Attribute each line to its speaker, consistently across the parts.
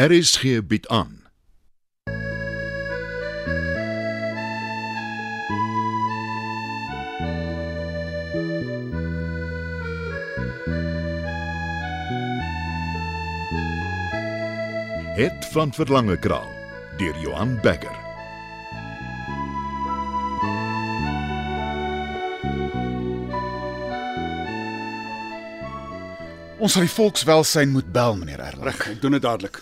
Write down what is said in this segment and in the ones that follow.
Speaker 1: RSG bied aan. Het van Verlange Kraal deur Johan Becker.
Speaker 2: Ons sal die volkswelsyn moet bel, meneer Erlang.
Speaker 3: Reg, ek doen dit dadelik.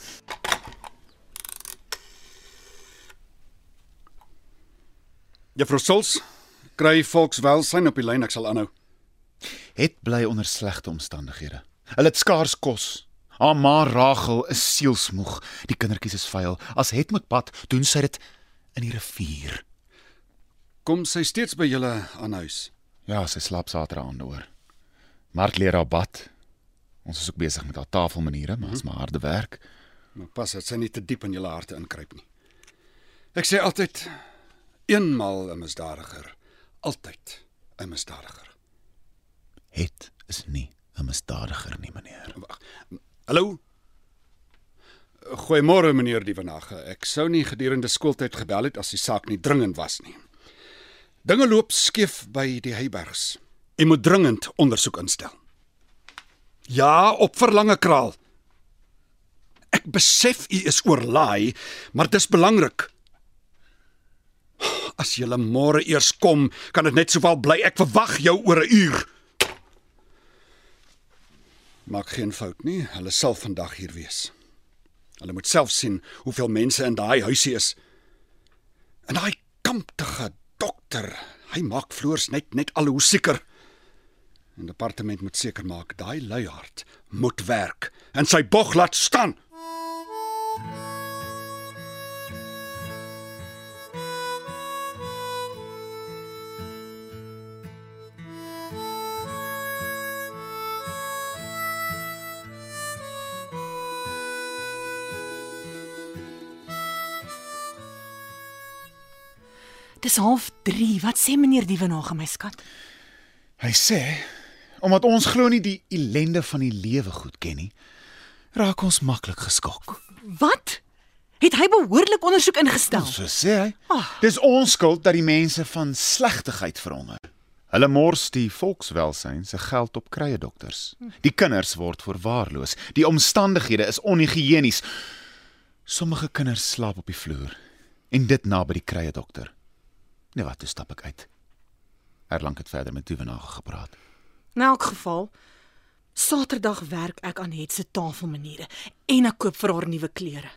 Speaker 3: Juffrou Suls, kry volkswelsyn op die lyn, ek sal aanhou.
Speaker 2: Het bly onder slegte omstandighede. Hulle het skaars kos. Haar ma Rachel is sielsmoeg. Die kindertjies is vuil. As het moet pad, doen sy dit in die rivier.
Speaker 3: Kom sy steeds by julle aan huis?
Speaker 2: Ja, sy slaap Saterdagaande oor. Mart leer haar bad. Ons is ook besig met haar tafelmaniere, maar dit is maar harde werk.
Speaker 3: Maar pas dat sy nie te diep in julle harte inkruip nie. Ek sê altyd eenmal 'n misdadiger, altyd 'n misdadiger.
Speaker 2: Het is nie 'n misdadiger nie, meneer.
Speaker 3: Wag. Hallo. Goeiemôre meneer Dievenage. Ek sou nie gedurende skooltyd gebel het as die saak nie dringend was nie. Dinge loop skeef by die Heybergs. U moet dringend ondersoek instel. Ja, op verlange kraal. Ek besef u is oorlaai, maar dis belangrik. As jy môre eers kom, kan dit net sowel bly. Ek verwag jou oor 'n uur. Maak geen fout nie, hulle sal vandag hier wees. Hulle moet self sien hoeveel mense in daai huisie is. En daai kamptige dokter, hy maak floors net net al hoe sieker. En die departement moet seker maak daai luihart moet werk en sy bog laat staan.
Speaker 4: Dis half 3. Wat sê meneer Dievenage my skat?
Speaker 2: Hy sê omdat ons glo nie die ellende van die lewe goed ken nie, raak ons maklik geskok.
Speaker 4: Wat? Het hy behoorlik ondersoek ingestel?
Speaker 2: So sê hy.
Speaker 4: Ah.
Speaker 2: Dis ons skuld dat die mense van slegtigheid verhonger. Hulle mors die volkswelsyn se geld op krye dokters. Die kinders word verwaarloos. Die omstandighede is onhigienies. Sommige kinders slaap op die vloer en dit naby die krye dokter. Nee, wat, toe stap ek uit. Erlang het verder met Duvenage gepraat.
Speaker 4: Nou, In elk geval, Saterdag werk ek aan het se tafelmaniere en ek koop vir haar nuwe klere.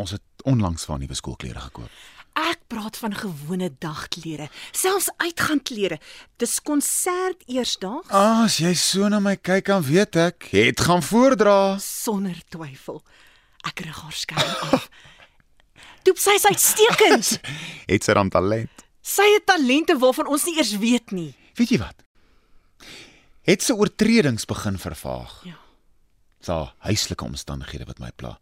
Speaker 2: Ons het onlangs van nuwe skoolklere gekoop.
Speaker 4: Ek praat van gewone dagklere, selfs uitgaanklere. Dis konsert eersdaags
Speaker 2: Ah, as jy so na my kyk, dan weet ek, het gaan voordra.
Speaker 4: sonder twyfel. Ek rig haar skerm af. Doep sy is uitstekend.
Speaker 2: Het sy dan talent?
Speaker 4: Sy het talente waarvan ons nie eers weet nie.
Speaker 2: Weet jy wat? Het se oortredings begin vervaag.
Speaker 4: Ja.
Speaker 2: Sa huislike omstandighede wat my pla.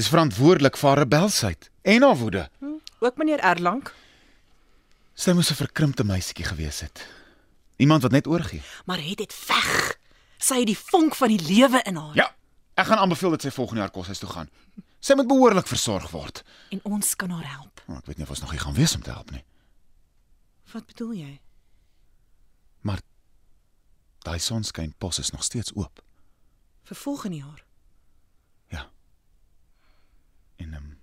Speaker 2: Dis verantwoordelik vir haar rebelsheid en haar woede.
Speaker 4: Hm? Ook meneer Erlang.
Speaker 2: Sy moes 'n verkrimpte meisietjie gewees het. Iemand wat net oorgie.
Speaker 4: maar het dit veg. Sy het die vonk van die lewe in haar
Speaker 2: Ja. Ek gaan aanbeveel dat sy volgende jaar koshuis toe gaan. Sy moet behoorlik versorg word.
Speaker 4: en ons kan haar help.
Speaker 2: Maar ek weet nie of ons nog hier gaan wees om te help nie.
Speaker 4: Wat bedoel jy?
Speaker 2: Maar daai sonskynpos is nog steeds oop.
Speaker 4: Vir volgende jaar.
Speaker 2: Ja. En ehm um,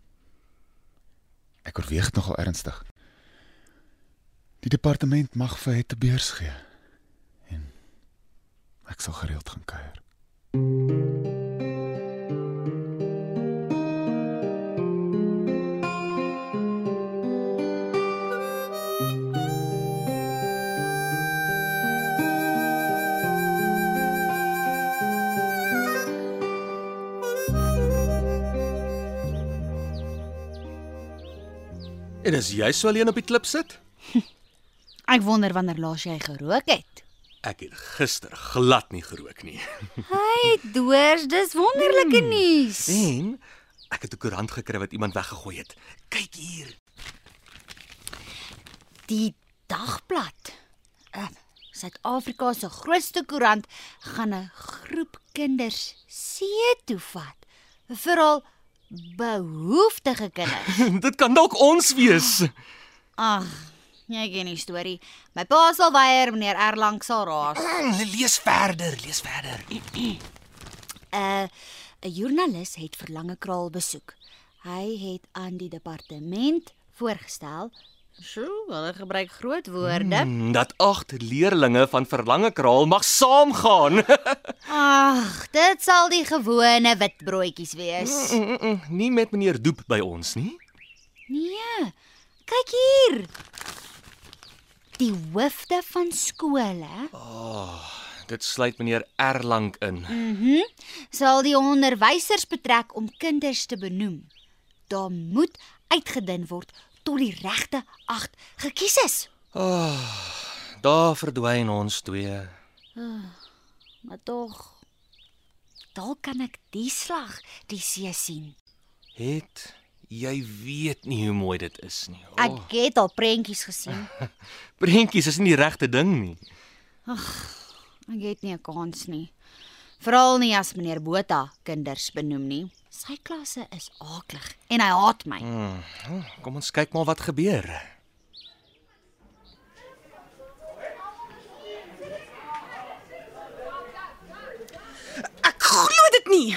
Speaker 2: ek oorweeg dit nogal ernstig. Die departement mag vir het 'n beurs gee. En ek sal gereeld gaan kuier.
Speaker 5: En as jy so alleen op die klip sit?
Speaker 6: Ek wonder wanneer laas jy gerook het.
Speaker 5: Ek het gister glad nie gerook nie.
Speaker 6: Hey, doors, dis wonderlike mm. nuus.
Speaker 5: En ek het 'n koerant gekry wat iemand weggegooi het. Kyk hier.
Speaker 6: Die dagblad. Uh, Suid-Afrika se grootste koerant gaan 'n groep kinders see toe vat vir al Behoeftige kinders.
Speaker 5: Dit kan dalk ons wees.
Speaker 6: Ag, jy ken die storie. My pa sal weier meneer Erlang sal raas.
Speaker 5: Lees verder, lees verder.
Speaker 6: 'n Eh, 'n joernalis het Verlange Kraal besoek. Hy het aan die departement voorgestel, "Sjoe, hulle gebruik groot woorde.
Speaker 5: Hmm, Dat agt leerlinge van Verlange Kraal mag saamgaan.
Speaker 6: Ag, dit sal die gewone wit broodjies wees."
Speaker 5: Mm, mm, mm, nie met meneer Doep by ons nie.
Speaker 6: Nee. Kyk hier. Die hoofde van skole
Speaker 5: Dit sluit meneer Erlang in.
Speaker 6: sal die onderwysers betrek om kinders te benoem. Daar moet uitgedun word tot die regte 8 gekies is.
Speaker 5: Ah, Daar verdwyn ons twee.
Speaker 6: Maar tog dalk kan ek die slag die see sien.
Speaker 5: Het jy weet nie hoe mooi dit is nie.
Speaker 6: Ek het al prentjies gesien.
Speaker 5: prentjies is nie die regte ding nie.
Speaker 6: Ek het nie 'n kans nie. Veral nie as meneer Botha kinders benoem nie. Sy klasse is aaklig en hy haat my.
Speaker 5: Kom ons kyk maar wat gebeur.
Speaker 4: Ek glo dit nie.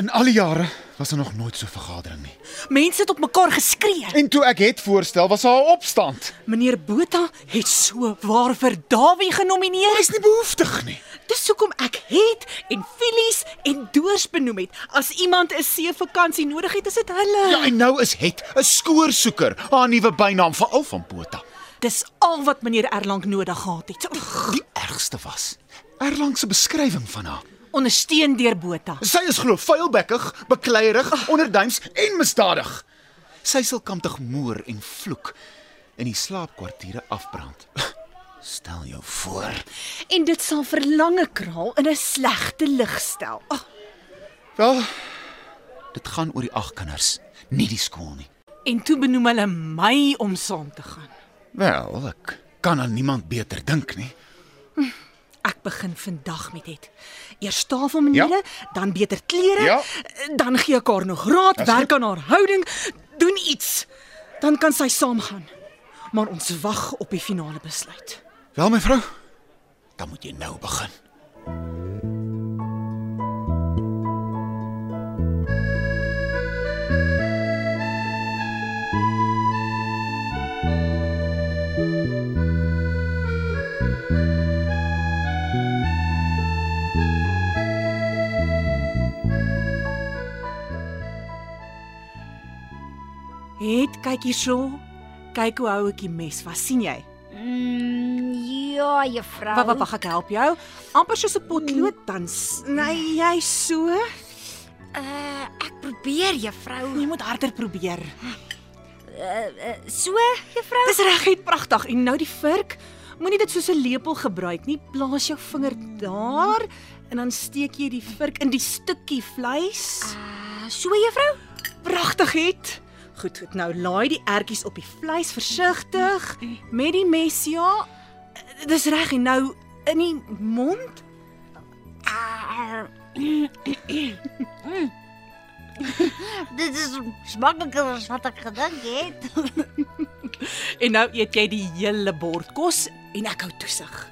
Speaker 2: In al die jare was daar nog nooit so 'n vergadering nie.
Speaker 4: Mense het op mekaar geskree.
Speaker 2: En toe ek het voorstel, was daar 'n opstand.
Speaker 4: Meneer Botha het so waar vir Dawie genomineer.
Speaker 2: Hy's nie behoeftig nie.
Speaker 4: Dis hoekom ek het en Filies en Doors benoem het. As iemand 'n seevakansie nodig het, is dit hulle.
Speaker 2: Ja, en nou is het 'n skoorsoeker, haar nuwe bynaam vir Al van Botha.
Speaker 4: Dis al wat meneer Erlang nodig gehad het. Ugh,
Speaker 2: Die ergste was Erlang se beskrywing van haar.
Speaker 4: Ondersteun deur Botha.
Speaker 2: Sy is glo vuilbekkig, bekleierig, onderduims en misdadig. Sy sal kamptig moer en vloek in die slaapkwartiere afbrand. Stel jou voor.
Speaker 4: En dit sal verlange kraal in 'n slegte lig stel. Ag,
Speaker 2: Wel, dit gaan oor die ag kinders, nie die skool nie.
Speaker 4: en toe benoem hulle my om saam te gaan.
Speaker 2: Wel, ek kan aan niemand beter dink nie.
Speaker 4: Ek begin vandag met dit. Eers tafelmaniere, dan beter klere,
Speaker 2: Ja.
Speaker 4: dan gee ek haar nog raad, werk aan haar houding, doen iets. Dan kan sy saamgaan. Maar ons wag op die finale besluit.
Speaker 2: Wel my vrou, dan moet jy nou begin.
Speaker 4: Het kyk hierso. Kyk hoe hou ek die mes vas, sien jy?
Speaker 6: Mm, ja, juffrou.
Speaker 4: Wag, wag, wag, ek help jou. Amper soos 'n potlood dan sny jy so.
Speaker 6: Uh, ek probeer, juffrou.
Speaker 4: Jy moet harder probeer.
Speaker 6: Eh, So, juffrou.
Speaker 4: Dis reguit pragtig. En nou die vurk. Moenie dit soos 'n lepel gebruik nie. Plaas jou vinger daar en dan steek jy die vurk in die stukkie vleis.
Speaker 6: Uh, so, juffrou.
Speaker 4: Pragtig het. Goed, goed. Nou laai die ertjies op die vleis versigtig met die mes, ja. Dis reg en nou in die mond.
Speaker 6: Ah, Dit is smakliker as wat ek gedink het.
Speaker 4: En nou eet jy die hele bord kos en ek hou toesig.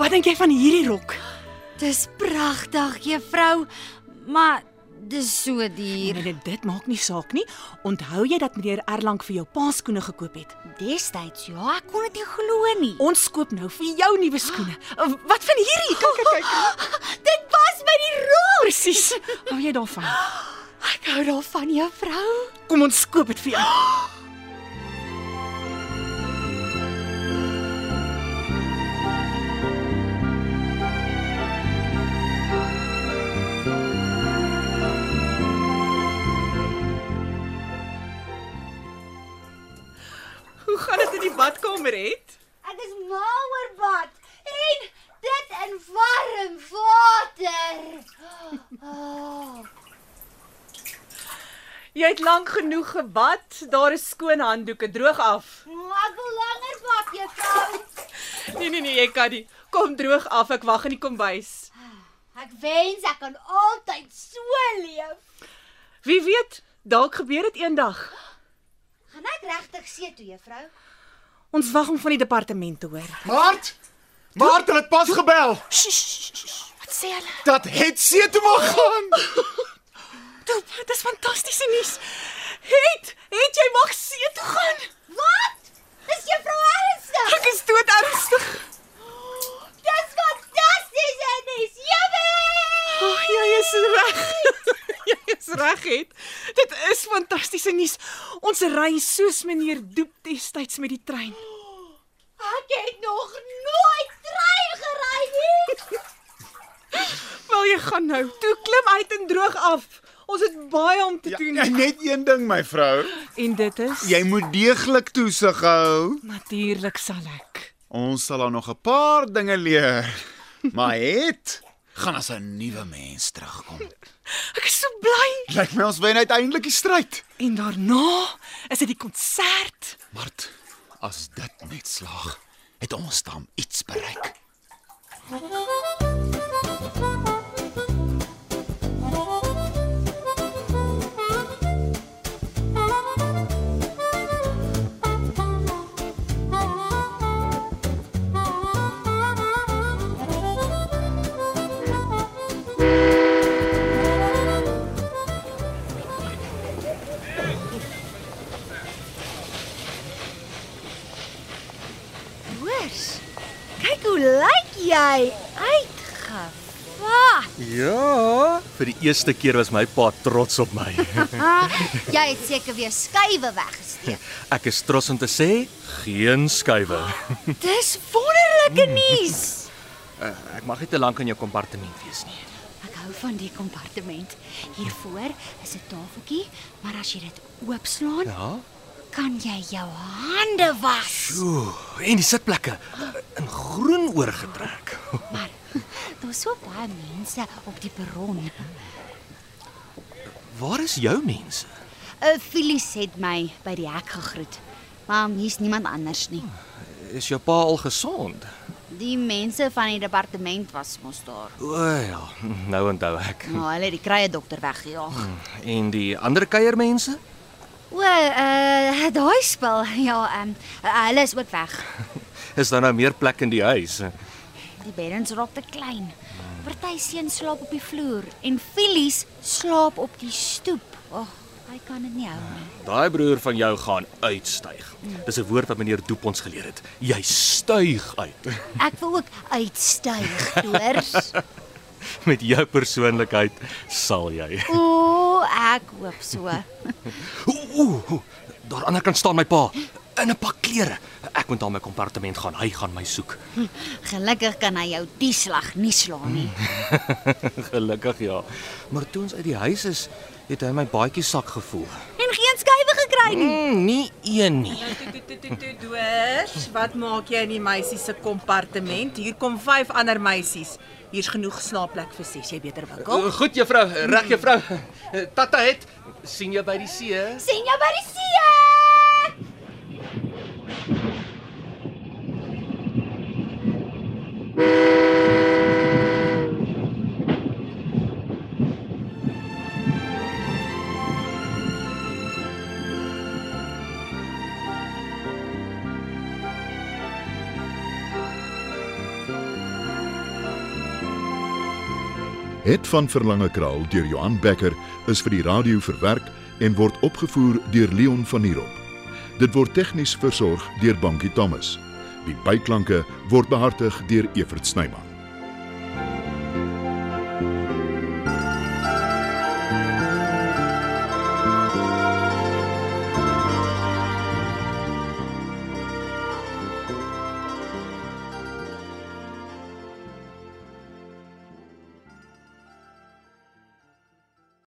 Speaker 4: Wat dink jy van hierdie rok?
Speaker 6: Dis pragtig, juffrou, maar dis so duur.
Speaker 4: Nee, nee, dit maak nie saak nie. Onthou jy dat meneer Erlang vir jou paaskoene gekoop het?
Speaker 6: Destyds, ja, ek kon dit nie glo nie.
Speaker 4: Ons koop nou vir jou nuwe skoene. Wat van hierdie? Kyk, kyk, kyk.
Speaker 6: Dit pas by die roer.
Speaker 4: Presies. Hou jy daarvan?
Speaker 6: Ek hou daarvan, juffrou.
Speaker 4: Kom ons koop dit vir jou. Hoe gaan dit in die badkamer het?
Speaker 6: Ek is mal oor bad en dit in warm water. Oh.
Speaker 4: Jy het lank genoeg gebad. Daar is skoon handdoeke droog af.
Speaker 6: Ek wil langer vat, juffrou.
Speaker 4: Nee nee nee, jy kan nie. Kom droog af. Ek wag in die kombuis.
Speaker 6: Ek wens ek kan altyd so leef.
Speaker 4: Wie weet, dalk gebeur dit eendag.
Speaker 6: Gaan ek regtig see toe, juffrou?
Speaker 4: Ons wag om van die departement te hoor.
Speaker 2: Maart! Maart, hulle het pas gebel.
Speaker 4: Wat sê hulle?
Speaker 2: Dat het see toe mag gaan.
Speaker 4: Toe, dis fantastiese nuus. Het, het jy mag see toe gaan?
Speaker 6: Wat? Is juffrou ernstig?
Speaker 4: Ek is dood ernstig.
Speaker 6: Dis fantasties en dis jubel.
Speaker 4: Ag, jy is reg. jy is reg het. Dit is fantastiese nuus. Ons ry soos meneer Doep destyds met die trein.
Speaker 6: Ek het nog nooit trein gery nie.
Speaker 4: Wil jy gaan nou? Toe klim uit en droog af. Ons het baie om te doen.
Speaker 2: Ja, net een ding my vrou,
Speaker 4: En dit is
Speaker 2: jy moet deeglik toesig hou.
Speaker 4: natuurlik sal ek.
Speaker 2: Ons sal haar nog 'n paar dinge leer. Maar het gaan as 'n nuwe mens terugkom.
Speaker 4: Ek is so bly.
Speaker 2: Lyk my ons wen uiteindelik die stryd.
Speaker 4: En daarna is dit die konsert.
Speaker 2: Mart, as dit net slaag, het ons dan iets bereik.
Speaker 6: Hoors. Kyk hoe lyk jy uitgevat.
Speaker 5: Ja, vir die eerste keer was my pa trots op my.
Speaker 6: Jy het seker weer skuwe weggesteek.
Speaker 5: Ek is trots om te sê, geen skuwe.
Speaker 6: Dis wonderlike nuus.
Speaker 5: Ek mag nie te lank in jou kompartement wees nie.
Speaker 6: Ek hou van die kompartement. Hiervoor is 'n tafeltjie, maar as jy dit oopslaan,
Speaker 5: Ja.
Speaker 6: kan jy jou hande was.
Speaker 5: Ooh, en die sitplekke eh, in groen oorgetrek.
Speaker 6: Maar daar's so baie mense op die perron.
Speaker 5: Waar is jou mense?
Speaker 6: 'n Filies het my by die hek gegroet, maar hier's niemand anders nie.
Speaker 5: Is jou pa al gesond?
Speaker 6: Die mense van die departement was mos daar.
Speaker 5: O ja, nou onthou ek.
Speaker 6: Maar hulle het die krye dokter weggejaag.
Speaker 5: En die ander kuiermense?
Speaker 6: O, uh, daai spel. Ja, ehm um, hulle is ook weg.
Speaker 5: Is daar nou meer plek in die huis?
Speaker 6: Die beddens raak te klein. Party seuns slaap op die vloer en Filies slaap op die stoep. Ag, oh, hy kan dit nie hou nie.
Speaker 5: Daai broer van jou gaan uitstyg. Dis 'n woord wat meneer Doep ons geleer het. Jy styg uit
Speaker 6: Ek wil ook uitstyg, hoors.
Speaker 5: met jou persoonlikheid sal jy.
Speaker 6: O, ek hoop so.
Speaker 5: Ooh, ooh, ooh, daar aan die ander kant staan my pa in 'n pak klere. Ek moet na my kompartement gaan. Hy gaan my soek.
Speaker 6: Gelukkig kan hy jou die slag nie slaan nie.
Speaker 5: Gelukkig ja. Maar toe ons uit die huis is, het hy my baadjie sak gevoel.
Speaker 6: En geen skuwe gekry nie.
Speaker 5: Mm, nie een nie.
Speaker 4: Doors, wat maak jy in die meisie se kompartement? Hier kom vyf ander meisies. Hier's genoeg slaapplek vir ses. Jy er beter wikkel.
Speaker 5: Goed juffrou, reg juffrou. Tata het sien jou by die see.
Speaker 6: Sien jou by die see.
Speaker 1: Het van Verlange Kraal deur Johan Becker is vir die radio verwerk en word opgevoer deur Leon Van Heerop. Dit word tegnies versorg deur Bankie Thomas. Die byklanke word behartig deur Evert Snyman.